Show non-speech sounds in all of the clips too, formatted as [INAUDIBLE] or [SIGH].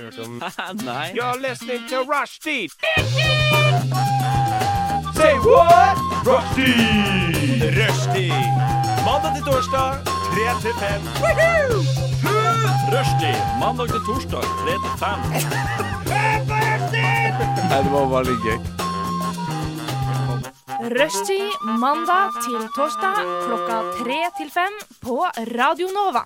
hørt om Nei. You're listening to Rushdie. Say what? Rushdie. Rushdie. Mandag til torsdag, 3 til 5. Rushdie. Mandag til torsdag 3 til 5. Rushtid mandag til torsdag klokka tre til fem på Radio Nova.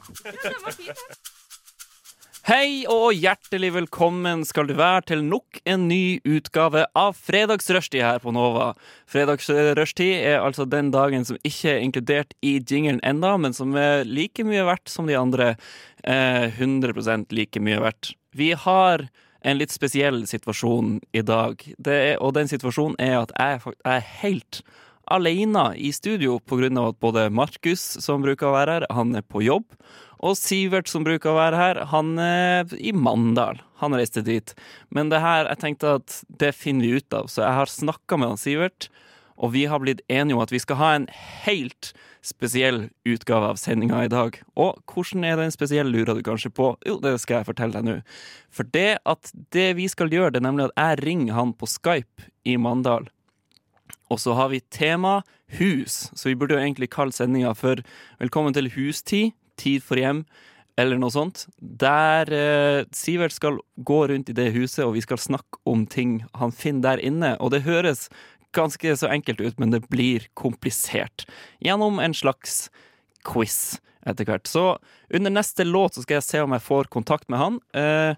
Hei og hjertelig velkommen skal du være til nok en ny utgave av Fredagsrushtid her på Nova. Fredagsrushtid er altså den dagen som ikke er inkludert i jingelen enda, men som er like mye verdt som de andre. Eh, 100 like mye verdt. Vi har en litt spesiell situasjon i dag, det er, og den situasjonen er at jeg fak- jeg er helt alene i studio pga. at både Markus, som bruker å være her, han er på jobb. Og Sivert, som bruker å være her, han er i Mandal. Han reiste dit. Men det her, jeg tenkte at det finner vi ut av, så jeg har snakka med han Sivert. Og vi har blitt enige om at vi skal ha en helt spesiell utgave av sendinga i dag. Og hvordan er den spesielle, lurer du kanskje på? Jo, det skal jeg fortelle deg nå. For det at det vi skal gjøre, det er nemlig at jeg ringer han på Skype i Mandal. Og så har vi tema hus, så vi burde jo egentlig kalle sendinga for Velkommen til hustid, tid for hjem, eller noe sånt. Der eh, Sivert skal gå rundt i det huset, og vi skal snakke om ting han finner der inne. Og det høres ganske så enkelt ut, men det blir komplisert. Gjennom en slags quiz etter hvert. Så under neste låt så skal jeg se om jeg får kontakt med han. Eh,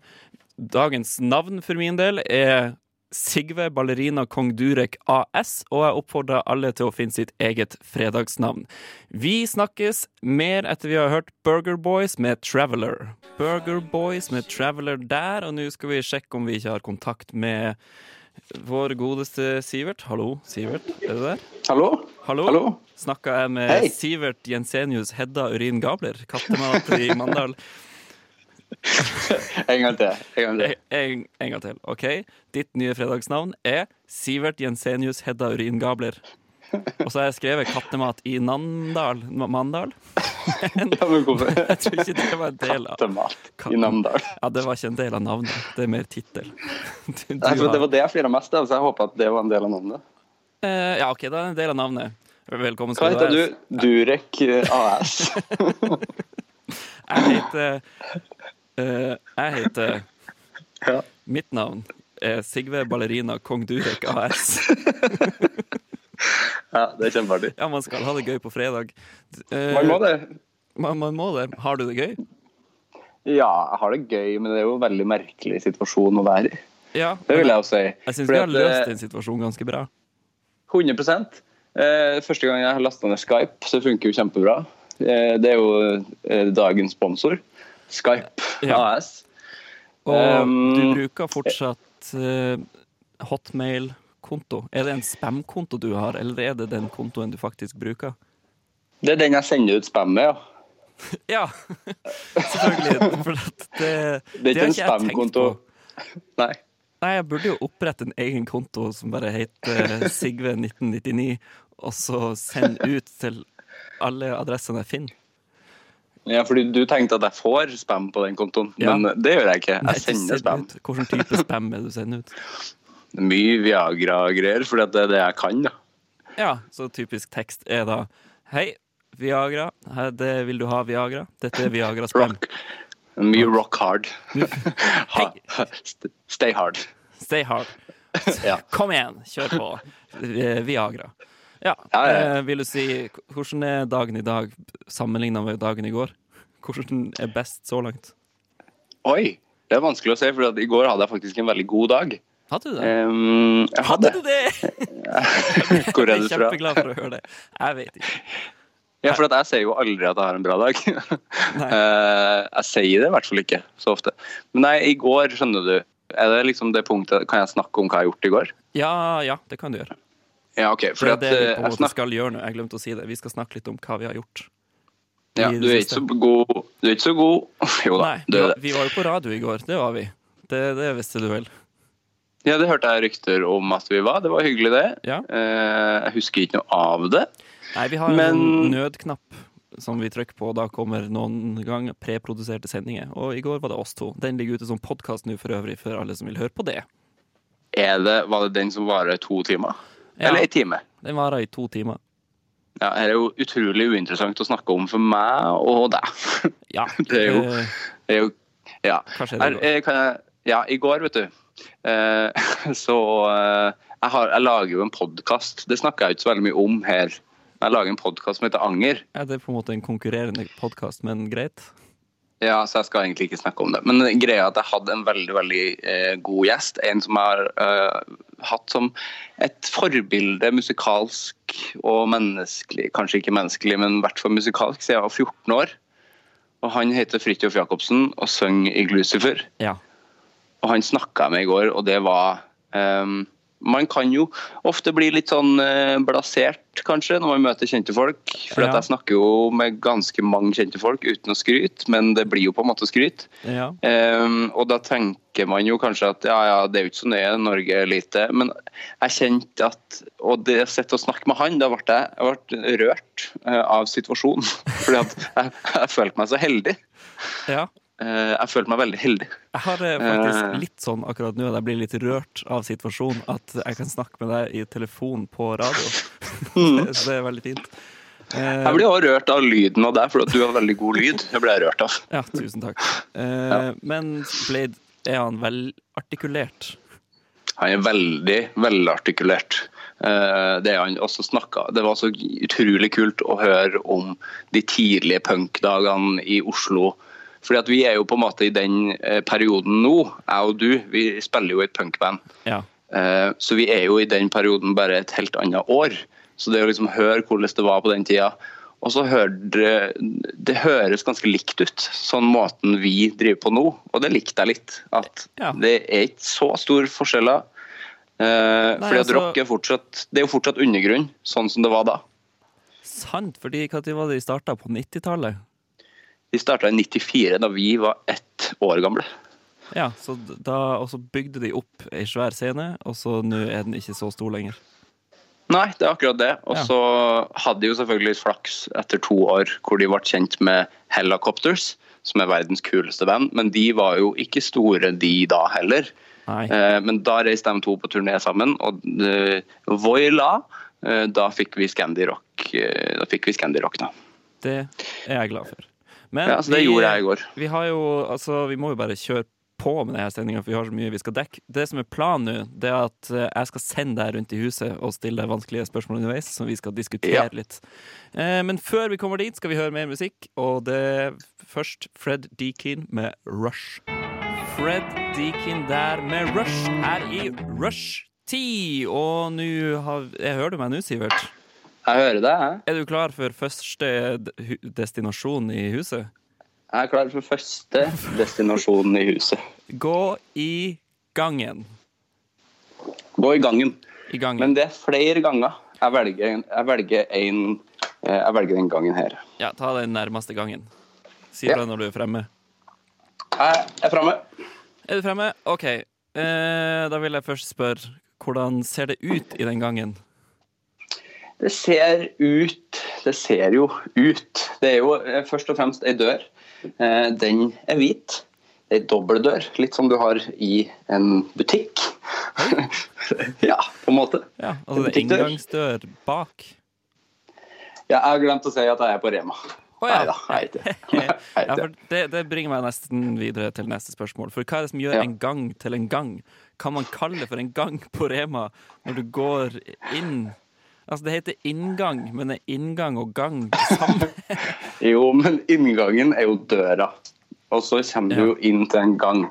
dagens navn for min del er Sigve Ballerina Kong Durek AS, og jeg oppfordrer alle til å finne sitt eget fredagsnavn. Vi snakkes mer etter vi har hørt Burger Boys med Traveler. Burger Boys med Traveler der, og nå skal vi sjekke om vi ikke har kontakt med vår godeste Sivert. Hallo, Sivert. Er du der? Hallo? Hallo? Hallo? Snakka jeg med Hei. Sivert Jensenius Hedda Urin Gabler, kattemat i Mandal. En gang til. En gang til. En, en gang til. OK. Ditt nye fredagsnavn er Sivert Jensenius Hedda Urin Gabler. Og så har jeg skrevet 'kattemat i Namdal'. Ma- Mandal? Ja, men hvorfor? [LAUGHS] Jeg tror ikke det var en del av Kattemat i Namdal. Ja, det var ikke en del av navnet. Det er mer tittel. [LAUGHS] Du- du Jeg tror har- Det var det jeg flira mest av, så jeg håper at det var en del av navnet. Eh, Ja, OK, da er det en del av navnet. Velkommen Hva skal heter være. du? Durek eh, AS. [LAUGHS] Jeg heter eh, Jeg heter Ja. Mitt navn er Sigve Ballerina Kong Durek AS. Ja, det er kjempeartig. Ja, man skal ha det gøy på fredag. Eh, Man må det. Man, man må det. Har du det gøy? Ja, jeg har det gøy, men det er jo en veldig merkelig situasjon å være i. Ja. Det vil jeg jo si. Jeg syns Fordi vi har at, løst eh, den situasjonen ganske bra. 100 eh, Første gang jeg har lasta ned Skype, så det funker jo kjempebra. Eh, det er jo eh, dagens sponsor. Skype Ja. AS. Og du ehm, bruker fortsatt eh, hotmail-konto. Er det en spam-konto du har, eller er det den kontoen du faktisk bruker? Det er den jeg sender ut spam med, ja. Ja, [LAUGHS] selvfølgelig. For at det, Det er har ikke ikke en jeg tenkt spamkonto. på. Nei. Nei, jeg burde jo opprette en egen konto som bare heter eh, Sigve1999, og så sende ut til alle adressene jeg finner. Ja, fordi du tenkte at jeg får spam på den kontoen, Ja. men det gjør jeg ikke. Nei, Jeg ikke sender send spam. ut. Hvilken type spam er det du sender ut? Mye Viagra-greier, fordi at det er det jeg kan. da. Ja, så typisk tekst er da Hei, Viagra. Her, det vil du ha Viagra? Dette er Viagra-spam. Rock. Mye rock hard. [LAUGHS] Ha, st- stay hard. Stay hard. [LAUGHS] Ja. Kom igjen, kjør på. Eh, Viagra. Ja, Ja, ja, ja. eh, vil du si Hvordan er dagen i dag sammenligna med dagen i går? Hvordan er best så langt? Oi! Det er vanskelig å si, for i går hadde jeg faktisk en veldig god dag. Hadde du det? Ehm, jeg Hadde hadde du det? [LAUGHS] Hvor Jeg er er du fra? kjempeglad for å høre det. Jeg vet ikke. Ja, for at jeg sier jo aldri at jeg har en bra dag. [LAUGHS] Eh, jeg sier det i hvert fall ikke så ofte. Men nei, i går, skjønner du er det liksom det punktet, Kan jeg snakke om hva jeg har gjort i går? Ja, ja, det kan du gjøre. Ja, OK. For Fordi at, det er det vi på eh, en jeg måte snak- skal gjøre nå. Jeg glemte å si det. Vi skal snakke litt om hva vi har gjort. Ja, i det du er ikke siste. så god Du er ikke så god [LAUGHS] Jo da, Nei, du vi er var, det. vi var jo på radio i går. Det var vi. Det, det visste du vel. Ja, det hørte jeg rykter om at vi var. Det var hyggelig, det. Ja. Eh, jeg husker ikke noe av det. Nei, vi har Men- en nødknapp som vi trykker på. Da kommer noen gang preproduserte sendinger. Og i går var det oss to. Den ligger ute som podkast nå for øvrig, for alle som vil høre på det. Er det, var det den som varer to timer? Ja. Eller en time? Den varer i to timer. Ja, her er jo utrolig uinteressant å snakke om for meg og deg. [LAUGHS] Ja. Det er jo- eh, Det er jo, ja. Kanskje det Her, går. eh, kan jeg, ja, i går, vet du, eh, [LAUGHS] så eh, jeg, har, jeg lager jo en podkast. Det snakker jeg ikke så veldig mye om her. Jeg lager en podkast som heter Anger. Ja, det er på en måte en konkurrerende podkast, men greit. Ja, så jeg skal egentlig ikke snakke om det. Men greia er at jeg hadde en veldig veldig eh, god gjest. En som jeg har eh, hatt som et forbilde musikalsk og menneskelig. Kanskje ikke menneskelig, men i hvert fall musikalsk siden jeg var 14 år. Og Han heter Fridtjof Jacobsen og synger i Glucifer. Ja. Og han snakka jeg med i går, og det var ehm, Man kan jo ofte bli litt sånn eh, blasert, kanskje, når man møter kjente folk. For Ja. at jeg snakker jo med ganske mange kjente folk uten å skryte, men det blir jo på en måte skryt. ja. Ehm, og da tenker man jo kanskje at ja, ja, det er jo ikke så nøye, Norge er lite. Men jeg kjente at Og det å sitte og snakke med han, da ble jeg, jeg ble rørt eh, av situasjonen. [LAUGHS] Fordi at jeg, jeg følte meg så heldig. ja. Eh, jeg følte meg veldig heldig. Jeg har eh, Eh. faktisk litt sånn akkurat nå at jeg blir litt rørt av situasjonen. At jeg kan snakke med deg i telefon på radio. Mm. Det- [LAUGHS] Så det er veldig fint. Eh, Jeg blir også rørt av lyden av deg, for at du har veldig god lyd. Det ble jeg rørt av. Ja, tusen [LAUGHS] takk. Eh, Men Blade, er han velartikulert? Han er veldig velartikulert. Eh, Det er han også snakket. Det var så utrolig kult å høre om de tidlige punkdagene i Oslo. Fordi at vi er jo på en måte i den eh, perioden nå, jeg og du, vi spiller jo i et punkband. Ja. Eh, Så vi er jo i den perioden bare et helt annet år. Så det å liksom høre hvordan det var på den tida Og så hører det, det høres ganske likt ut, sånn måten vi driver på nå. Og det likte jeg litt. At Ja. det er ikke så store forskjeller. Eh, Nei, fordi at altså- rock er fortsatt Det er jo fortsatt undergrunn, sånn som det var da. Sant, fordi når var det de starta? På 90-tallet? Vi starta i 94, da vi var ett år gamle. Ja, så d- da, og så bygde de opp ei svær scene, og så nå er den ikke så stor lenger. Nei, det er akkurat det. Og Ja. så hadde de jo selvfølgelig litt flaks etter to år hvor de ble kjent med Helicopters, som er verdens kuleste band. Men de var jo ikke store de da heller. Nei. Eh, Men da reiste de to på turné sammen, og eh, voila! eh, Da fikk vi Scandi Rock. eh, Da fikk vi Scandi Rock, da. Det er jeg glad for. Men Ja, så det gjorde jeg i går. Vi har jo, altså, vi må jo bare kjøre på med denne sendinga, for vi har så mye vi skal dekke. Det som er planen nå, det er at eh, jeg skal sende deg rundt i huset og stille deg vanskelige spørsmål underveis, som vi skal diskutere Ja. litt. Eh, men før vi kommer dit, skal vi høre mer musikk, og det er først Fred Deakin med Rush. Fred Deakin der med Rush her i Rush 10. Og nå har Jeg hører du meg nå, Sivert? Jeg hører deg, jeg. Er du klar for første d- hu- destinasjon i huset? Jeg er klar for første destinasjon i huset. Gå i gangen. Gå i gangen. I gangen. Men det er flere ganger. Jeg velger, en- jeg velger, en, eh, jeg velger den gangen her. Ja, ta den nærmeste gangen. Si Ja. fra når du er fremme. Jeg er framme. Er du fremme? OK. Eh, da vil jeg først spørre hvordan ser det ut i den gangen? Det ser ut Det ser jo ut. Det er jo eh, først og fremst ei dør. Eh, Den er hvit. Det er ei dobbeldør, litt som du har i en butikk. [LAUGHS] ja, på en måte. Ja, altså det er Butikkdør. inngangsdør bak. Ja, jeg har glemt å si at jeg er på Rema. Å, ja. Nei da, jeg [LAUGHS] er ikke det. Ja, Jeg er ikke for det. det, det bringer meg nesten videre til neste spørsmål. For hva er det som gjør Ja. en gang til en gang? Kan man kalle det for en gang på Rema når du går inn? Altså, det heter inngang, men er inngang og gang det [LAUGHS] samme? Jo, men inngangen er jo døra. Og så kommer Ja. du jo inn til en gang.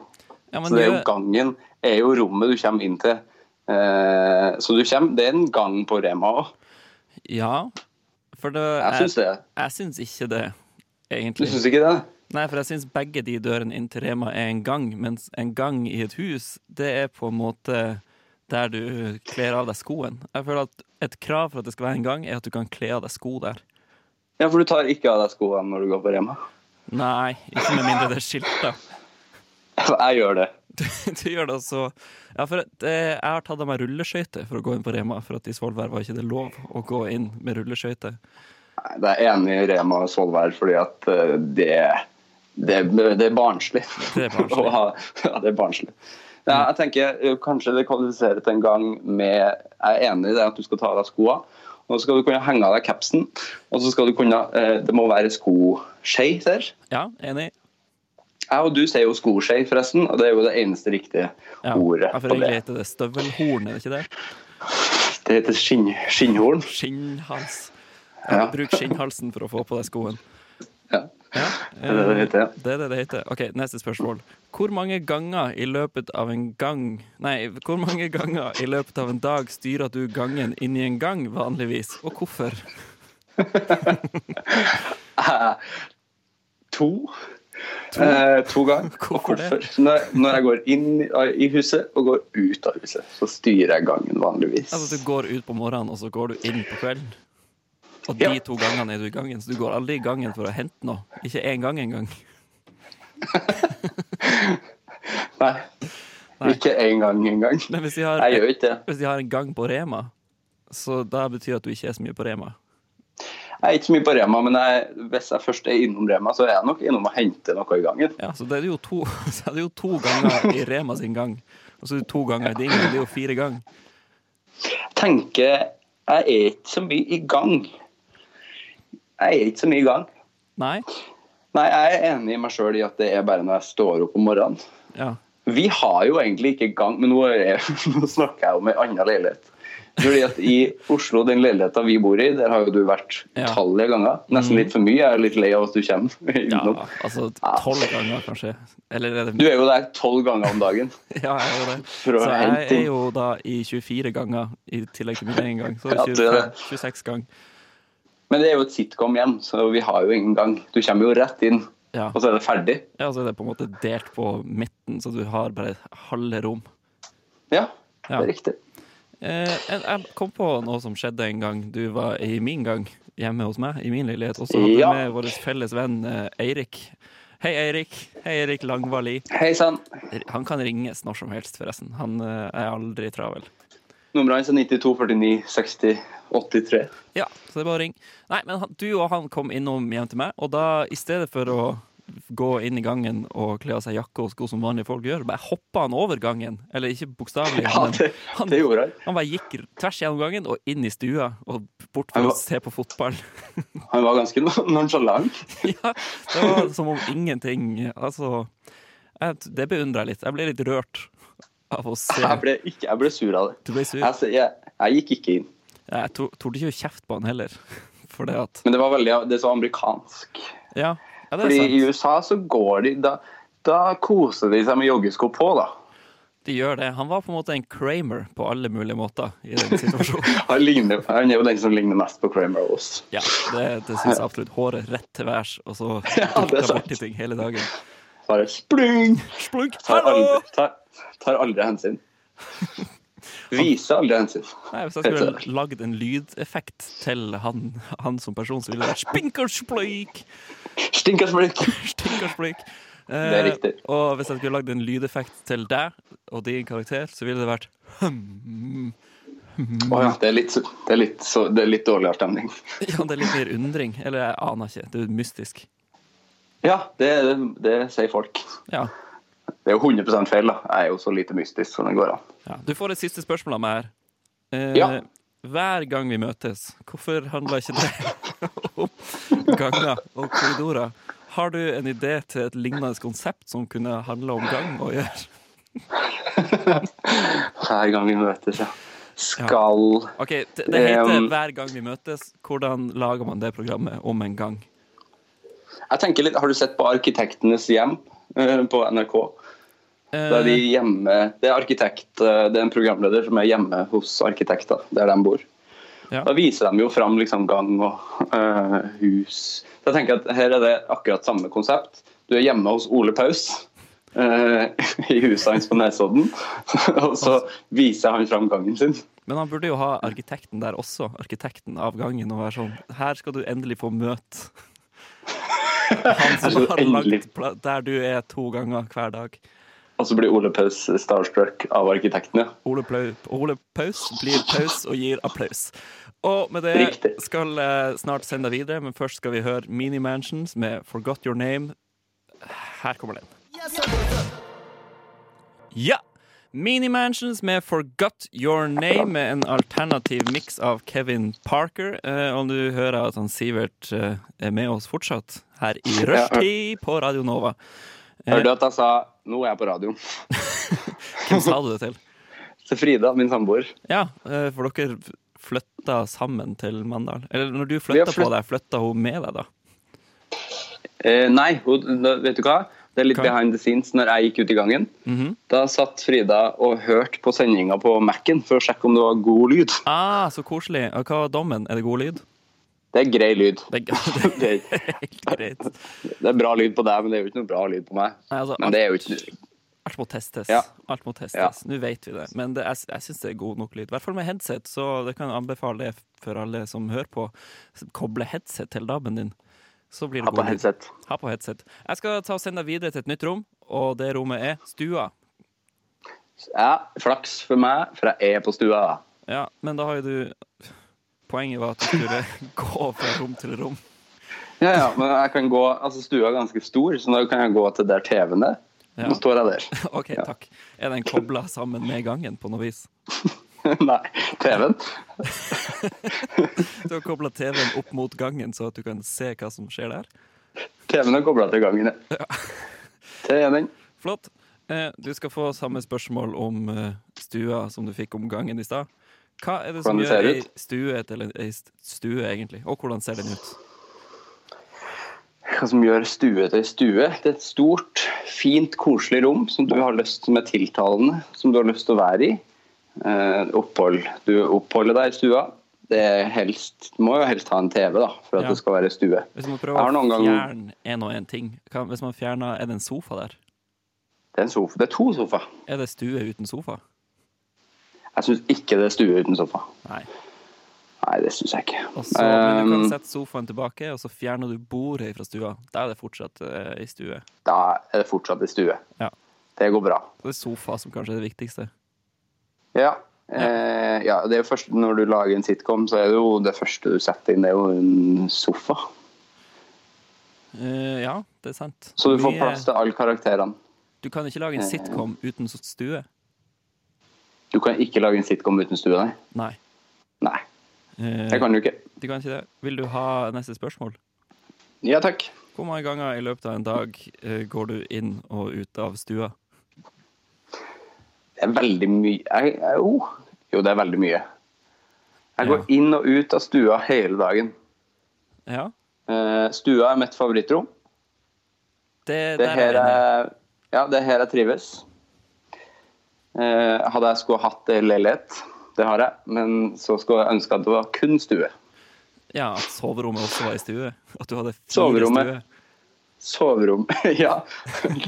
Ja, men Så det er jo gjør- gangen er jo rommet du kommer inn til. Eh, Så du kommer Det er en gang på Rema òg. ja for det, Jeg syns det. Jeg syns ikke det, Du egentlig. syns ikke det? Nei, for jeg syns begge de dørene inn til Rema er en gang, mens en gang i et hus, det er på en måte der du kler av deg skoen. Jeg føler at et krav for at det skal være en gang, er at du kan kle av deg sko der. Ja, for du tar ikke av deg skoene når du går på Rema. [LAUGHS] Nei, ikke med mindre det er skilta. Jeg gjør det. Du, [LAUGHS] du gjør det også Ja, for at, eh, jeg har tatt av meg rulleskøyter for å gå inn på Rema, for at i Svolvær var ikke det lov å gå inn med rulleskøyter. Nei, Det er enig i Rema og Svolvær, fordi at eh, det, det, det er barnslig. Det er barnslig. [LAUGHS] Å ha- ja, det er barnslig. Ja, jeg tenker eh, Kanskje det kvalifiserer til en gang med Jeg er enig i det at du skal ta av deg skoene. Og så skal du kunne henge av deg capsen. Og så skal du kunne eh, Det må være skoskje der. Ja, enig. Jeg og du sier jo skoskje, forresten, og det er jo det eneste riktige Ja. ordet Ja, for på egentlig det. heter det støvelhorn, er det ikke det? Det heter skinn, skinnhorn. Skinnhals. Ja. Ja. Bruk skinnhalsen for å få på deg skoen. Ja. Ja, er det det eh, heter, ja. Det er det det heter. Ok, Neste spørsmål. Hvor mange ganger i løpet av en gang Nei, hvor mange ganger i løpet av en dag styrer du gangen inn i en gang vanligvis, og hvorfor? Eh, to. Eh, to ganger. Og [LAUGHS] Hvorfor det? Når, når jeg går inn i huset og går ut av huset, så styrer jeg gangen vanligvis. Altså, du går ut på morgenen, og så går du inn på kvelden. Og de Ja. to gangene er du i gangen, så du går aldri i gangen for å hente noe. Ikke én gang engang. [LAUGHS] Nei. Ikke én gang engang. Men hvis de, har, Jeg gjør ikke det. hvis de har en gang på Rema, så da betyr det at du ikke er så mye på Rema. Jeg er ikke så mye på Rema, men jeg, hvis jeg først er innom Rema, så er jeg nok innom og henter noe i gangen. Ja, så det er det jo to, [LAUGHS] så er det jo to ganger i Rema sin gang. Og så er det to ganger i din gang. Det er jo fire ganger. tenker jeg er ikke så mye i gang. Jeg er ikke så mye i gang. Nei? Nei, jeg er enig i meg sjøl i at det er bare når jeg står opp om morgenen. Ja. Vi har jo egentlig ikke gang, men nå, er, nå snakker jeg [LAUGHS] om ei anna leilighet. Fordi at I Oslo, den leiligheta vi bor i, der har jo du vært Ja. Mhm. utallige ganger. Nesten litt for mye. Jeg er litt lei av at du kommer [LAUGHS] ja innom. altså tolv ganger, kanskje. Eller er Ah. Du det er jo der tolv ganger om dagen. [LAUGHS] Ja, jeg er jo det. For å Så jeg hente er inn. jo da i 24 ganger i tillegg til min egen gang. Så Ja, du er 25, det. 26 ganger. Men det er jo et sitcom-hjem, så vi har jo ingen gang. Du kommer jo rett inn, Ja. og så er det ferdig. ja, så er det på en måte delt på midten, så du har bare halve rom. Ja, Ja. det er riktig. Eh, jeg- jeg kom på noe som skjedde en gang du var i min gang hjemme hos meg, i min leilighet. Og så hadde Ja. vi med vår felles venn eh, Eirik. Hei, Eirik. Hei, Eirik Langvali. Hei sann. Han kan ringes når som helst, forresten. Han eh, er aldri travel. Numrene hans er 92, 49, 60, 83. Ja, så det er bare å ringe. Nei, men han, du og han kom innom hjem til meg, og da i stedet for å gå inn i gangen og kle av seg jakke og sko som vanlige folk gjør, bare hoppa han over gangen. Eller ikke bokstavelig, [LAUGHS] Ja, det, han, det gjorde han. han bare gikk tvers gjennom gangen og inn i stua og bort Han for var- å se på fotball. Han var ganske [LAUGHS] nonsjalant. [LAUGHS] ja, det var som om ingenting Altså, jeg, det beundrer jeg litt. Jeg ble litt rørt av å se. Jeg ble, ikke, jeg ble sur av det. Du ble sur. Jeg, s- jeg, jeg gikk ikke inn. Jeg tor- torde ikke å kjefte på han heller. [LAUGHS] For det at Men det var veldig det var amerikansk. Ja, ja det er Fordi i sant. USA så går de Da, da koser de seg med joggesko på, da. De gjør det. Han var på en måte en Kramer på alle mulige måter i den [LAUGHS] situasjonen. Han, ligner, han er jo den som ligner mest på Kramer av oss. Ja, det, det syns jeg absolutt. Håret rett til værs, og så [LAUGHS] Ja, det er dukka sant. borti ting hele dagen. Bare spring! Splunk! Tar Hallo! aldri, tar, tar aldri hensyn. [LAUGHS] Viser aldri hensyn. Nei, hvis jeg skulle lagd en lydeffekt til han, han som person, så ville det vært spinkerspløyk! Stinker sprik! [LAUGHS] Stinkerspløyk! Det er riktig. Eh, og hvis jeg skulle lagd en lydeffekt til deg og din karakter, så ville det vært [LAUGHS] hum. Å ja, det er litt, det er litt, så, det er litt dårligere stemning. Ja, det er litt mer undring. Eller jeg aner ikke. Det er mystisk. Ja, det, det sier folk. Ja. Det er jo 100 feil, da. Jeg er jo så lite mystisk som det går an. Ja. Du får et siste spørsmål av meg her. Eh, Ja. Hver gang vi møtes, hvorfor handler ikke det [LAUGHS] om ganger og korridorer? Har du en idé til et lignende konsept som kunne handle om gang å gjøre? Hver gang vi møtes, ja. Skal Ok, Det, det heter Um. 'Hver gang vi møtes'. Hvordan lager man det programmet om en gang? Jeg tenker litt, Har du sett på Arkitektenes hjem eh, på NRK? Der de Eh, hjemme, det er arkitekt, eh, det er en programleder som er hjemme hos arkitekter, der de bor. Ja. Da viser de jo fram liksom gang og eh, hus. Så jeg tenker at Her er det akkurat samme konsept. Du er hjemme hos Ole Paus eh, [LAUGHS] i huset hans på Nesodden. [LAUGHS] og så viser han fram gangen sin. men han burde jo ha arkitekten der også. Arkitekten av gangen. Og være sånn Her skal du endelig få [LAUGHS] møte han som skal du har endelig- lagt pla- der du er to ganger hver dag. Og så blir Ole Paus starstruck av arkitektene. Ole, Plau, Ole Paus blir paus og gir applaus. Og med det Riktig. skal jeg snart sende deg videre, men først skal vi høre Mini Mansions med 'Forgot Your Name'. Her kommer den. Ja! Mini Mansions med 'Forgot Your Name', med en alternativ miks av Kevin Parker. Eh, og nå hører jeg at han Sivert eh, er med oss fortsatt, her i rushtid på Radio Nova. Hørte du at jeg sa 'nå er jeg på radioen'? Hvem sa du det til? Til Frida, min samboer. Ja, eh, for dere flytta sammen til Mandal. Eller når du Vi flytta har på flytt- deg, flytta hun med deg da? Eh, nei, hun, da- vet du hva? Det er litt Hva? Mhm. behind the scenes. Når jeg gikk ut i gangen, da satt Frida og hørte på sendinga på Mac-en for å sjekke om det var god lyd. Ah, så koselig. Og hva var dommen? Er det god lyd? Det er grei lyd. Det er, Det er, [LAUGHS] det er helt greit. det er bra lyd på deg, men det er jo ikke noe bra lyd på meg. Nei, altså, Men det er jo ikke Alt må testes. Ja. Alt må testes. Ja. Nå vet vi det. Men det, jeg, jeg syns det er god nok lyd. I hvert fall med headset, så det kan jeg anbefale det for alle som hører på. Koble headset til DAB-en din, så blir det ha på god lyd. headset. Ha på headset. Jeg skal ta og sende deg videre til et nytt rom, og det rommet er stua. Ja, flaks for meg, for jeg er på stua. Ja, men da har jo du [LAUGHS] Poenget var at du skulle [LAUGHS] gå fra rom til rom. [LAUGHS] Ja, ja, men jeg kan gå, altså Stua er ganske stor, så da kan jeg gå til der TV-en er. Ja. Nå står jeg der. [LAUGHS] OK, takk. Er den kobla sammen med gangen på noe vis? Nei, TV-en. Du har kobla TV-en opp mot gangen, så at du kan se hva som skjer der? TV-en er kobla til gangen. ja. Til den. Flott. Eh, Du skal få samme spørsmål om eh, stua som du fikk om gangen i stad. Hva er det som Hvordan det ser gjør ei ut? stue til en- ei st- stue, egentlig? Og hvordan ser den ut? Hva som gjør stue til stue? Det er et stort, fint, koselig rom som du har lyst som er tiltalende, som du har lyst til å være i. Eh, opphold. Du oppholder deg i stua. Det er helst, må jo helst ha en TV da, for at Ja. det skal være stue. Hvis man Jeg prøver har å noen gang- fjerne en og en ting hva, Hvis man fjerner Er det en sofa der? Det er, en sofa. det er to sofaer. Er det stue uten sofa? Jeg syns ikke det er stue uten sofa. Nei. Nei, det syns jeg ikke. Og så, men du kan Ehm, sette sofaen tilbake, og så fjerner du bordet fra stua. Da er det fortsatt eh, i stue. da er det fortsatt i stue. Ja. Det går bra. Så det er sofa som kanskje er det viktigste. Ja. Eh, ja, det er jo først, Når du lager en sitcom, så er det jo det første du setter inn, det er jo en sofa. Eh, ja, det er sant. Så du får Vi, eh, plass Eh. til alle karakterene. Du kan ikke lage en sitcom uten s- stue. Du kan ikke lage en sitcom uten stue, nei. Nei. Nei, Eh, det kan du ikke. Du kan ikke det. Vil du ha neste spørsmål? Ja takk. Hvor mange ganger i løpet av en dag eh, går du inn og ut av stua? Det er veldig mye jeg, jeg, jo. jo, det er veldig mye. Jeg Ja. går inn og ut av stua hele dagen. Ja, Eh, stua er mitt favorittrom. det, Det der her er jeg enig. er, ja, det her jeg trives. Eh, hadde jeg skulle hatt en leilighet, det har jeg, men så skulle jeg ønske at det var kun stue. Ja, at soverommet også var i stue. At du hadde fire Soverommet. stue. Soverom, [LAUGHS] ja.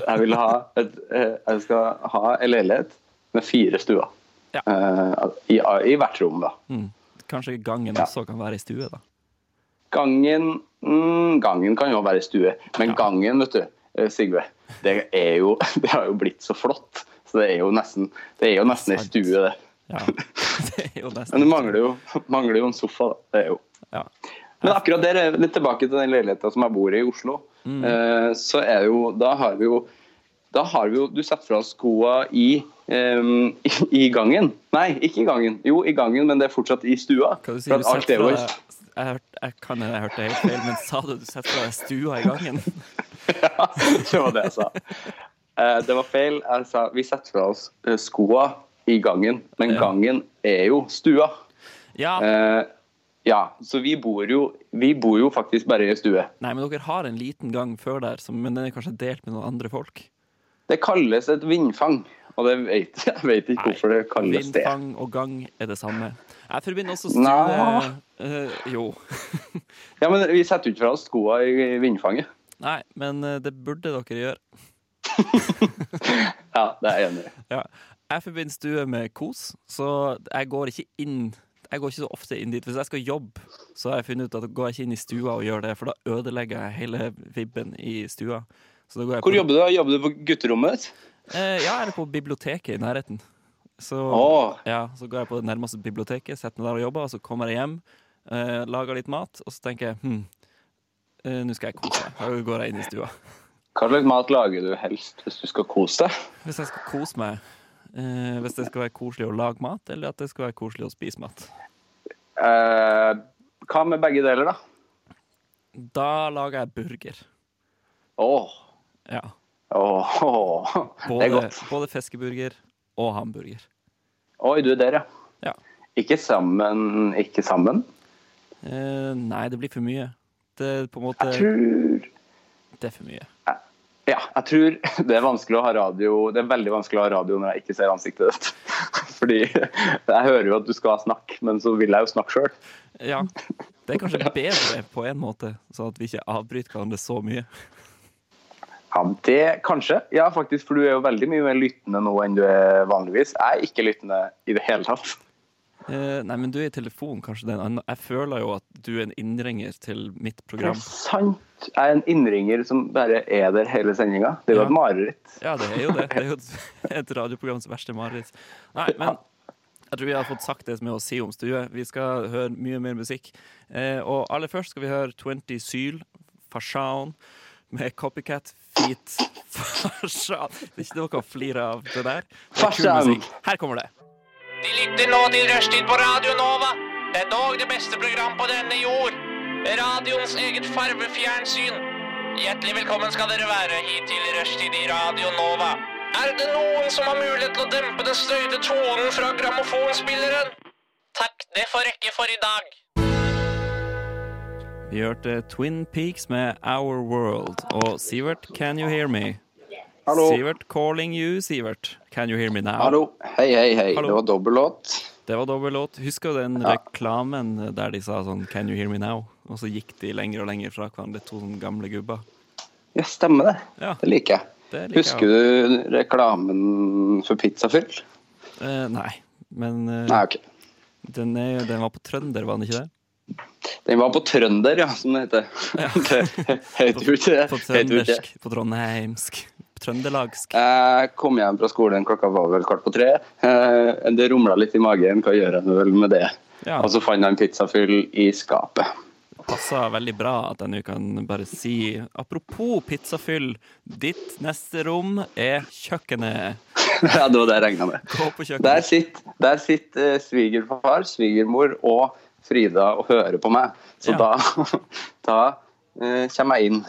Jeg vil ha et, eh, jeg skal ha en leilighet med fire stuer. Ja. Eh, i, I hvert rom, da. Kanskje gangen også kan være i stue, da. Gangen mm, Gangen kan jo være i stue, men gangen, vet du, eh, Sigve, det er jo [LAUGHS] Det har jo blitt så flott. Så det er jo nesten Det er jo nesten ei Sant. stue, det. [LAUGHS] Ja. [LAUGHS] Det er jo nesten Men du mangler jo, mangler jo en sofa, da. Det er jo. Ja. Men akkurat der, er vi litt tilbake til den leiligheta som jeg bor i i Oslo. Mm. Eh, så er jo Da har vi jo da har vi jo, Du setter fra oss skoa i, em, [LAUGHS] i, i gangen. Nei, ikke i gangen. Jo, i gangen, men det er fortsatt i stua. Hva du For sier at du? alt er Setter jo fra deg jeg, hørte- jeg kan hende jeg hørte det helt feil, men sa du du setter fra deg stua i gangen? [LAUGHS] Ja, [LAUGHS] det var det jeg sa. Eh, det var feil. Jeg sa vi setter fra oss eh, skoa i gangen, men Ja. gangen er jo stua. Ja. Eh, ja, så vi bor jo Vi bor jo faktisk bare i stue. Nei, men dere har en liten gang før der, som, men den er kanskje delt med noen andre folk? Det kalles et vindfang, og det vet, [LAUGHS] jeg vet ikke hvorfor det kalles det. Vindfang og gang er det samme. Jeg forbinder også stue Nei. eh, Jo. [LAUGHS] Ja, men Vi setter jo ikke fra oss skoa i vindfanget. Nei, men eh, det burde dere gjøre. Ja, det er jeg enig i. Ja. Jeg forbinder stue med kos, så jeg går ikke inn Jeg går ikke så ofte inn dit. Hvis jeg skal jobbe, så har jeg funnet ut at går jeg ikke inn i stua og gjør det, for da ødelegger jeg hele vibben i stua. Så da går jeg Hvor jobber du? da? Jobber du på gutterommet? Eh, ja, eller på biblioteket i nærheten. Så, Åh. ja, så går jeg på det nærmeste biblioteket, setter meg der og jobber, og så kommer jeg hjem, eh, lager litt mat, og så tenker jeg hm, eh, nå skal jeg kose meg. Og så går jeg inn i stua. Hva slags mat lager du helst hvis du skal kose deg? Hvis jeg skal kose meg, eh, hvis det skal være koselig å lage mat, eller at det skal være koselig å spise mat, Eh, hva med begge deler, da? da lager jeg burger. Åh, Ja. åh, åh. Det er Både, godt. både fiskeburger og hamburger. Oi, du er der, ja. Ja. Ikke sammen, ikke sammen? Eh, nei, det blir for mye. Det er på en måte Jeg tror Det er for mye. Ja, jeg tror [LAUGHS] det er vanskelig å ha radio Det er veldig vanskelig å ha radio når jeg ikke ser ansiktet ditt. [LAUGHS] Fordi jeg hører jo at du skal snakke, men så vil jeg jo snakke sjøl. [LAUGHS] Ja. Det er kanskje bedre på en måte, sånn at vi ikke avbryter hverandre så mye. Ja, det kanskje. Ja, faktisk, for du er jo veldig mye mer lyttende nå enn du er vanligvis. Jeg er ikke lyttende i det hele tatt. Eh, nei, men du er i telefonen, kanskje det er en annen Jeg føler jo at du er en innringer til mitt Det er program. sant. Jeg er en innringer som bare er der hele sendinga. Det er jo Ja. et mareritt. [LAUGHS] Ja, det er jo det. Det er jo et- [LAUGHS] et radioprograms verste mareritt. Nei, men jeg tror vi har fått sagt det som er å si om stue. Vi skal høre mye mer musikk. Eh, og aller først skal vi høre 20 Syl, Fashaon, med Copycat Feet Fashaon. Det er ikke noe å flire av, det der. Det er kul Fashaon. musikk. Her kommer det. De lytter nå til Rushtid på Radio Nova. Det er dog det beste program på denne jord. Radioens eget farvefjernsyn. Hjertelig velkommen skal dere være hit til Rushtid i Radio Nova. Er det noen som har mulighet til å dempe den støyte tonen fra grammofonspilleren? Takk, det får rekke for i dag. Vi hørte Twin Peaks med Our World. Og Sivert, can you hear me? Hallo. Sivert calling you, Sivert. Can you hear me now? Hallo. Hei, hei, hei. Hallo. Det var dobbellåt. Det var dobbel låt. Husker du den reklamen der de sa sånn Can you hear me now? Og så gikk de lenger og lenger fra hverandre, to sånne gamle gubber. Ja, stemmer det. Ja. Det liker jeg. Det liker jeg Husker du reklamen for pizzafyll? Eh, nei, men eh, Nei, ok. Den, er, den var på trønder, var den ikke det? Den var på trønder, ja, som det heter. [LAUGHS] det heter jo ikke det. På Heter jo Eh, ikke det. trøndersk. På trondheimsk. På trøndelagsk. Jeg Eh, kom hjem fra skolen, klokka var vel kvart på tre. Eh, Det rumla litt i magen, hva gjør jeg nå vel med det? Ja. Og så fant jeg en pizzafyll i skapet. [LAUGHS] Passa veldig bra at jeg nå kan bare si Apropos pizzafyll, ditt neste rom er kjøkkenet. Ja, det var det jeg regna med. Gå på Der kjøkkenet. sitter, der sitter eh, svigerfar, svigermor og Frida og hører på meg. Så Ja. da, [LAUGHS] da eh, kommer jeg inn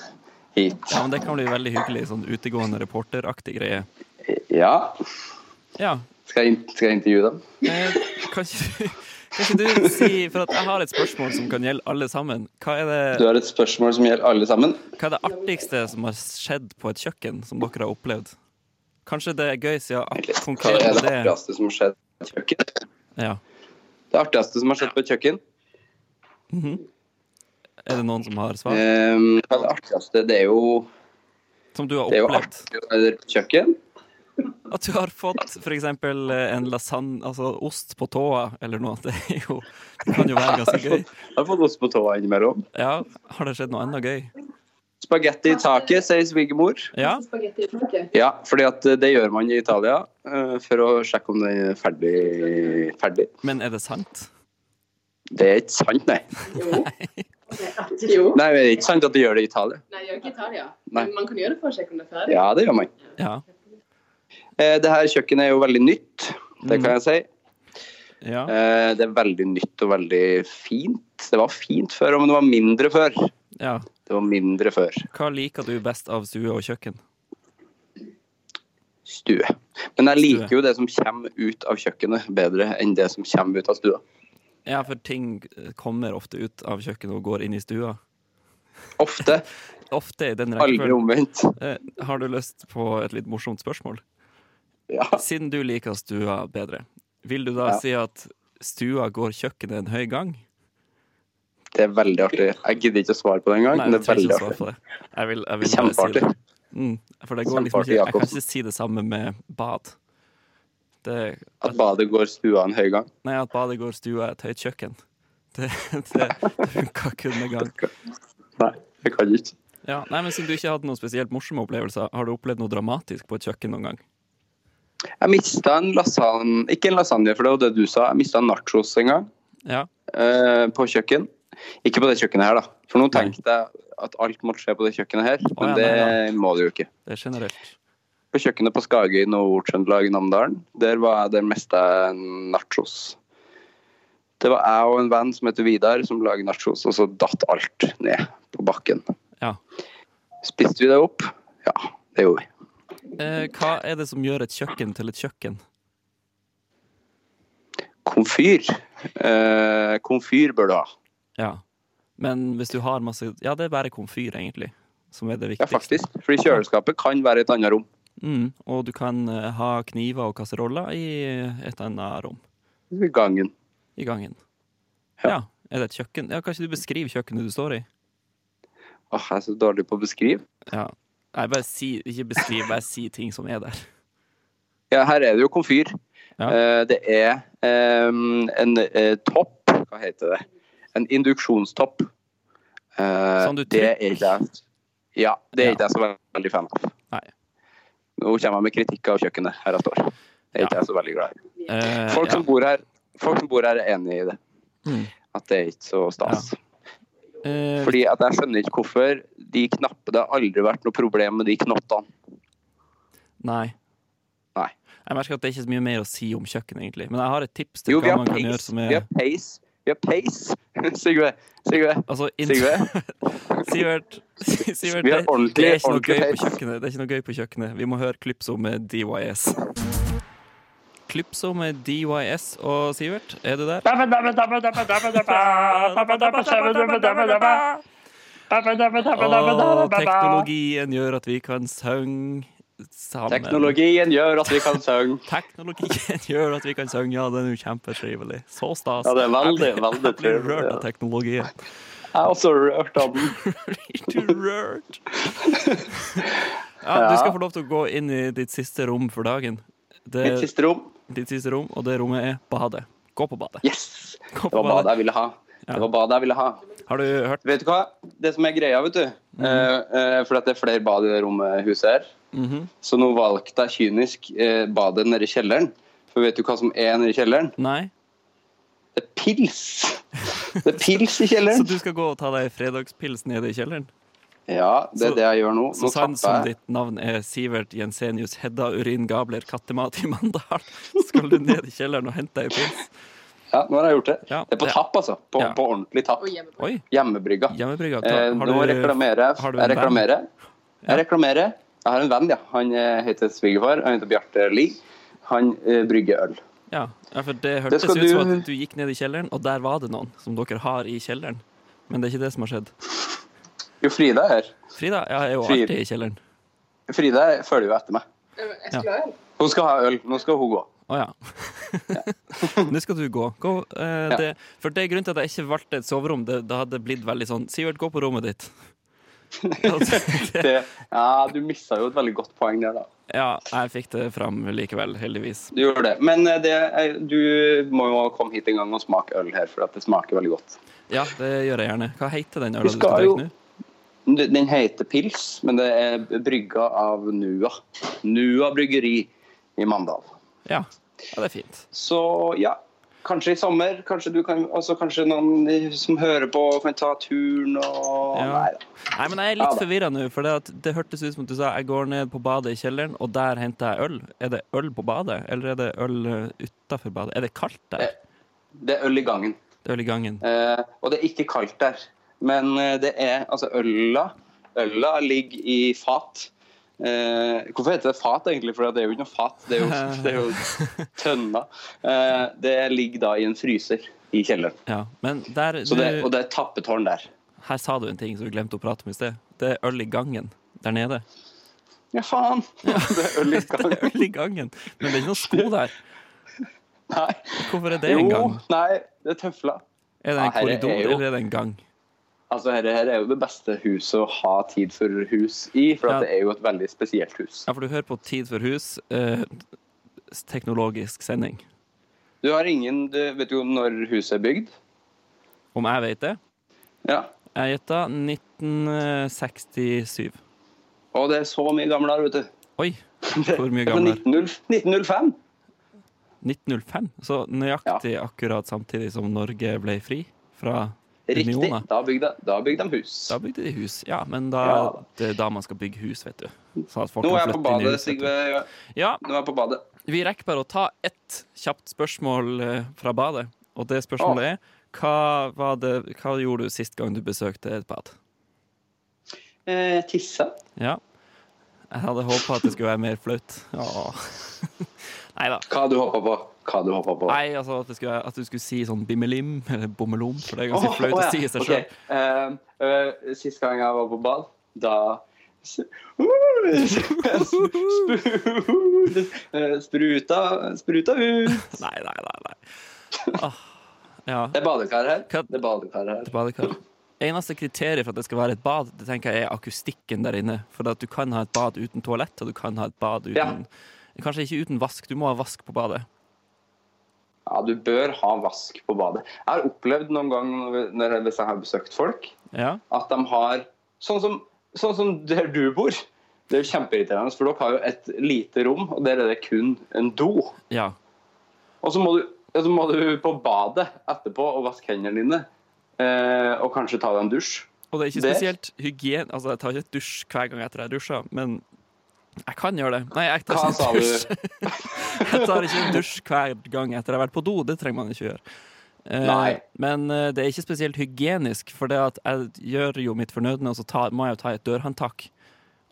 hit. Ja, men Det kan bli veldig hyggelig. Sånn utegående reporteraktig greie. Ja, Ja, skal jeg, in- skal jeg intervjue dem? Eh, Kan ikke, kan ikke du si For at jeg har et spørsmål som kan gjelde alle sammen. Hva er, Du det, har et spørsmål som gjelder alle sammen. hva er det artigste som har skjedd på et kjøkken, som dere har opplevd? Kanskje det er gøy, siden Egentlig, ak- Hva konkret er det det artigste som har skjedd på et kjøkken? ja. Det artigste som har skjedd på et kjøkken? Er det noen som har svar? Ehm, hva er det artigste? Det er jo, Som du har det er jo opplevd? artig å være på et kjøkken. At du har fått f.eks. en lasagne, altså ost på tåa, eller noe. Det, er jo, det kan jo være Jeg har ganske gøy. fått- jeg har fått ost på tåa innimellom. Ja, Har det skjedd noe enda gøy? Spagetti i taket, sier svigermor. Ja? Spagetti i taket. Ja, fordi at eh, det gjør man i Italia eh, for å sjekke om den er ferdig. ferdig. Men er det sant? Det er ikke sant, nei. Jo. Jo. Nei, Det er ikke sant at de gjør det i Italia. Nei, jeg gjør ikke Italia. Nei. Men man kan gjøre det for å sjekke om det er ferdig. Ja, det gjør man. Ja. Eh, Det her kjøkkenet er jo veldig nytt, det kan jeg si. ja. Eh, Det er veldig nytt og veldig fint. Det var fint før, men det var mindre før. ja. Det var mindre før. Hva liker du best av stue og kjøkken? Stue. Men jeg liker Stue. jo det som kommer ut av kjøkkenet bedre enn det som kommer ut av stua. Ja, for ting eh, kommer ofte ut av kjøkkenet og går inn i stua. Ofte. Ofte i den Aldri rekkefølgen. omvendt. Eh, Har du lyst på et litt morsomt spørsmål? Ja. Siden du liker stua bedre, vil du da Ja. si at stua går kjøkkenet en høy gang? Det er veldig artig. Jeg gidder ikke å svare på det engang, men det jeg trenger er veldig ikke å svare artig. på det. Jeg vil, jeg vil bare si Kjempeartig. det. Mm, for det går liksom Kjempeartig, ikke Jeg kan Jakobsen. ikke si det samme med bad. Det, At badet går stua en høy gang. nei, at badet går stua er et høyt kjøkken. [LAUGHS] Det, det, det funka kun en gang. Nei, jeg kan ikke. Ja, nei, men Siden du ikke hadde noen spesielt morsomme opplevelser, har du opplevd noe dramatisk på et kjøkken noen gang? Jeg mista en lasagne Ikke en lasagne, for det var det du sa. Jeg mista en nachos en gang Ja. eh, på kjøkken. Ikke på det kjøkkenet her, da. For nå Nei. tenkte jeg at alt måtte skje på det kjøkkenet her, men ja, det nei, må det jo ikke. Det er generelt. På kjøkkenet på Skagøy Nord-Trøndelag i Namdalen, der var jeg der meste nachos. Det var jeg og en venn som heter Vidar, som lager nachos, og så datt alt ned på bakken. Ja. Spiste vi det opp? Ja, det gjorde vi. Eh, hva er det som gjør et kjøkken til et kjøkken? Komfyr. Eh, komfyr bør du ha. Ja. Men hvis du har masse Ja, det er bare komfyr, egentlig, som er det Ja, viktigste. faktisk. Fordi kjøleskapet kan være i et annet rom. Mm, og du kan eh, ha kniver og kasseroller i et annet rom I gangen. i gangen. Ja. Ja. Er det et kjøkken? Ja, Kan ikke du beskrive kjøkkenet du står i? Åh, jeg er så dårlig på å beskrive. Ja. Nei, bare si, ikke beskriv, bare si ting som er [LAUGHS] der. Ja, her er det jo komfyr. Ja. Eh, det er eh, en eh, topp Hva heter det? En induksjonstopp. Eh, Sånn du det trykker. er ikke jeg Ja, det er Ja. ikke jeg så veldig fan av. Nei. Nå kommer jeg med kritikk av kjøkkenet her jeg står. Det er Ja. ikke jeg så veldig glad i. Eh, Folk, ja. som bor her, folk som bor her, er enig i det. Mm. At det er ikke så stas. Eh, Fordi at jeg skjønner ikke hvorfor de knappene Det har aldri vært noe problem med de knottene. nei. Nei. Jeg merker at det er ikke så mye mer å si om kjøkken, egentlig. Men jeg har et tips til Jo, vi hva har man kan gjøre peis. som Vi er har peis. Vi har peis. [LAUGHS] Sigve. Sigve. Altså, int- [LAUGHS] Sigve. Sivert, Sivert Vi har det, ordentlig- det er ikke noe gøy ordentlig på peis. kjøkkenet. Det er ikke noe gøy på kjøkkenet. Vi må høre Klypso med DYS. Klypso med DYS og Sivert, er du der? Og teknologien gjør at vi kan synge sammen. Teknologien gjør at vi kan synge. Teknologien [LAUGHS] gjør at vi kan synge, ja, den er jo kjempetrivelig. Så stas. Ja, det er veldig, Jeg blir- veldig Jeg blir trivelig, rørt ja. av teknologien. Jeg er også rørt av den. Blir [LAUGHS] du rørt? Ja, du skal få lov til å gå inn i ditt siste rom for dagen. Mitt Det, siste rom. ditt siste rom, og det rommet er badet. Gå på badet. Yes! Gå Det på var badet badet. jeg ville ha. Ja. Det var badet jeg ville ha. Har du hørt? Vet du hva? Det som er greia, vet du eh, eh, For at det er flere bad i det rommet huset her. Mhm. Så nå valgte jeg kynisk eh, badet nede i kjelleren. For vet du hva som er nede i kjelleren? Nei? Det er pils! Det er pils [LAUGHS] i Så kjelleren. du skal gå og ta deg en fredagspils nede i kjelleren? Ja, det Så- er det jeg gjør nå. Så Nå sant som tapper jeg. ditt navn er Sivert Jensenius Hedda Urin Gabler Kattemat i Mandal, [LAUGHS] skal du ned i kjelleren og hente deg en pils? Ja, nå har jeg gjort det. Ja, det er på det- tapp, altså. På, Ja. på ordentlig tapp. Og hjemme på. Oi, Hjemmebrygga. hjemmebrygga. Eh, Har nå reklamerer jeg. har du en Jeg venn? reklamerer. Jeg reklamerer. Jeg har en venn, ja. Han eh, heter svigerfar. Han heter Bjarte Lie. Han eh, brygger øl. Ja, ja, for det hørtes skal ut som du- at du gikk ned i kjelleren, og der var det noen som dere har i kjelleren. Men det er ikke det som har skjedd. Jo, Frida er her. Frida ja, er jo Frida. alltid i kjelleren. Frida følger jo etter meg. Jeg skulle ha en. Hun skal ha øl. Nå skal hun gå. Å ja. [LAUGHS] Nå skal du gå. gå eh, Ja. det, for det er grunnen til at jeg ikke valgte et soverom. Det, det hadde blitt veldig sånn Sivert, gå på rommet [LAUGHS] ditt. Altså, Det, ja, du missa jo et veldig godt poeng der, da. ja, jeg fikk det fram likevel, heldigvis. Du gjorde det. Men eh, det, er- du må jo komme hit en gang og smake øl her, for at det smaker veldig godt. Ja, det gjør jeg gjerne. Hva heter den øla du skal skal jo- drikke nå? Den den heter Pils, men det er brygga av Nua. Nua bryggeri i Mandal. Ja. ja, det er fint. Så ja, kanskje i sommer. Kanskje, du kan, altså, kanskje noen som hører på, kan ta turen og Ja. Nei da. Nei, men jeg er Ja litt da. forvirra nå, for det, at det hørtes ut som at du sa jeg går ned på badet i kjelleren, og der henter jeg øl. Er det øl på badet, eller er det øl utafor badet? Er det kaldt Eh. der? Det er øl i gangen. Det er øl i gangen. Eh, og det er ikke kaldt der. Men eh, det er altså øla Øla ligger i fat. Eh, hvorfor heter det fat, egentlig? For det er jo ikke noe fat, det er jo, det er [LAUGHS] jo tønna. Eh, det ligger da i en fryser i kjelleren. Ja, men der Så du, det, og det er tappetårn der. Her sa du en ting som du glemte å prate om i sted. Det er øl i gangen der nede. [LAUGHS] Ja, faen! [LAUGHS] Det er øl i Det er gangen. øl i gangen, men det er ikke noen sko der. Nei. Hvorfor er [LAUGHS] det en Jo, gang? nei, det er tøfla. Er det Ja, en her er korridor, jo- eller er det en gang? Altså, her, her er jo det beste huset å ha tid for hus i, for Ja. at det er jo et veldig spesielt hus. Ja, for du hører på Tid for hus, eh, teknologisk sending. Du har ingen du Vet jo når huset er bygd? Om jeg vet det? Ja. Jeg gjetta 1967. Og det er så mye gamlere, vet du. Altså, Å [LAUGHS] Oi, hvor mye Det er fra gammel er 1905. 1905. 1905? Så nøyaktig akkurat samtidig som Norge ble fri fra Riktig. unioner. Da bygde, da bygde de hus. Da bygde de hus. Ja, men da, Ja, da. det er da man skal bygge hus, vet du. Så at folk Nå kan er jeg på flytte inn i badet, huset. Sigve. Ja, Nå er jeg på badet. Vi rekker bare å ta ett kjapt spørsmål eh, fra badet. Og det spørsmålet er hva, var det, hva gjorde du sist gang du besøkte et bad? Eh, tissa. Ja. Jeg hadde håpa at det skulle være mer flaut. [LAUGHS] Nei da. Hva du håpa på? Hva du håpa på? Nei, altså at, det skulle, være- at du skulle si sånn bimmelim eller bommelom, for det er ganske Åh, flaut åh, å ja. si i seg Ok, sjøl. eh, eh, sist gang jeg var på bad, da s- [LAUGHS] Sp- eh, Spruta, spruta ut. Nei, nei, nei. nei. Åh, ja. Det er badekar her. Hva- Det er badekar her. et badekar. Eneste kriteriet for at det skal være et bad, det tenker jeg er akustikken der inne. For at du kan ha et bad uten toalett, og du kan ha et bad uten Kanskje ikke uten vask. Du må ha vask på badet. Ja, du bør ha vask på badet. Jeg har opplevd noen ganger når jeg- hvis jeg har besøkt folk, Ja. at de har Sånn som, sånn som der du bor. Det er jo kjempeirriterende, for dere har jo et lite rom, og der er det kun en do. ja. Og så må du, og så må du på badet etterpå og vaske hendene dine, eh, og kanskje ta deg en dusj. Og det er ikke Det- spesielt hygien... Altså, jeg tar ikke et dusj hver gang etter jeg dusjer, men jeg kan gjøre det. Nei, jeg tar Hva ikke sa en dusj. du? Jeg tar ikke en dusj hver gang etter jeg har vært på do. Det trenger man ikke gjøre. Eh, Nei. Men eh, det er ikke spesielt hygienisk, for det at jeg gjør jo mitt fornødne, og så ta, må jeg jo ta et dørhåndtak.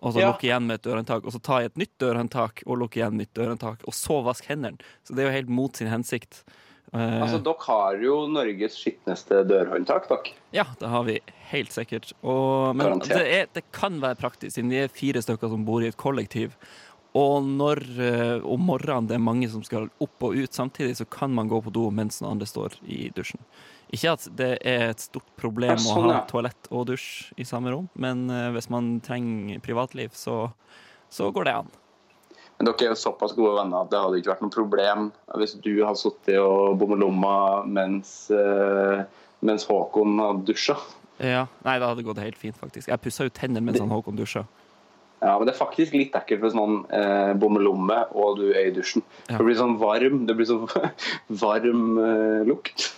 Og så Ja. lukke igjen med et dørhåndtak, og så ta et nytt dørhåndtak, og lukke igjen nytt dørhåndtak, og så vaske hendene. Så det er jo helt mot sin hensikt. Eh, Altså, dere har jo Norges skitneste dørhåndtak, dere. ja, det har vi helt sikkert. Og, men Garantert. det, er, det kan være praktisk, siden vi er fire stykker som bor i et kollektiv. Og når eh, om morgenen det er mange som skal opp og ut samtidig, så kan man gå på do mens den andre står i dusjen. Ikke at det er et stort problem Ja, sånn, å ha ja. toalett og dusj i samme rom, men eh, hvis man trenger privatliv, så, så går det an. Men dere er jo såpass gode venner at det hadde ikke vært noe problem hvis du hadde sittet og bommelomma mens, eh, mens Håkon hadde dusja. Ja. Nei, det hadde gått helt fint, faktisk. Jeg pussa jo tennene mens han Håkon dusja. Ja, men det er faktisk litt ekkelt hvis noen eh, bommelomme og du er i dusjen. Ja. Det blir sånn varm, det blir sånn [LAUGHS] varm eh, lukt.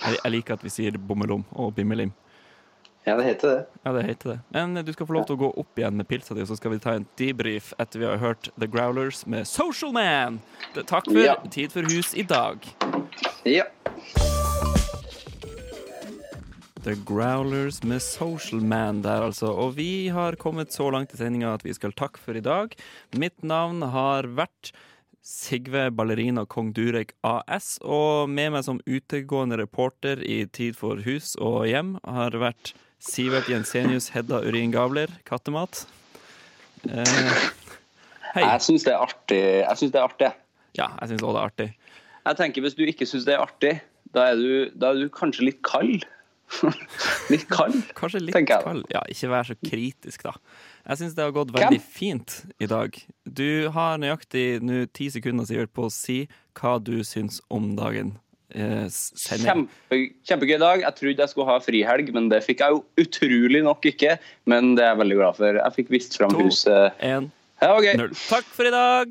Jeg, jeg liker at vi sier bommelom og bimmelim. Ja, det heter det. Ja, det heter det. Men du skal få lov til å gå opp igjen med pilsa di, og så skal vi ta en debrief etter vi har hørt The Growlers med Social Man. Det- Takk for Ja. Tid for hus i dag. Ja. The Growlers med Social Man der, altså. Og vi har kommet så langt i sendinga at vi skal takke for i dag. Mitt navn har vært Sigve Ballerina Kong Durek AS, og med meg som utegående reporter i Tid for hus og hjem har vært Sivert Jensenius Hedda Urin Gabler, kattemat. Eh, hei. Jeg syns det er artig. Jeg synes det er artig. Ja, jeg syns òg det er artig. Jeg tenker Hvis du ikke syns det er artig, da er du, da er du kanskje litt kald. [LAUGHS] litt kald. Kanskje litt Tenker jeg. kald. Ja, ikke vær så kritisk, da. Jeg syns det har gått Hvem? veldig fint i dag. Du har nøyaktig nå ti sekunder Sivert, på å si hva du syns om dagen. Eh, s- sending. Kjempe, kjempegøy dag. Jeg trodde jeg skulle ha frihelg, men det fikk jeg jo utrolig nok ikke. Men det er jeg veldig glad for. Jeg fikk vist fram To. huset. En, Ja, det var gøy. null. Takk for i dag!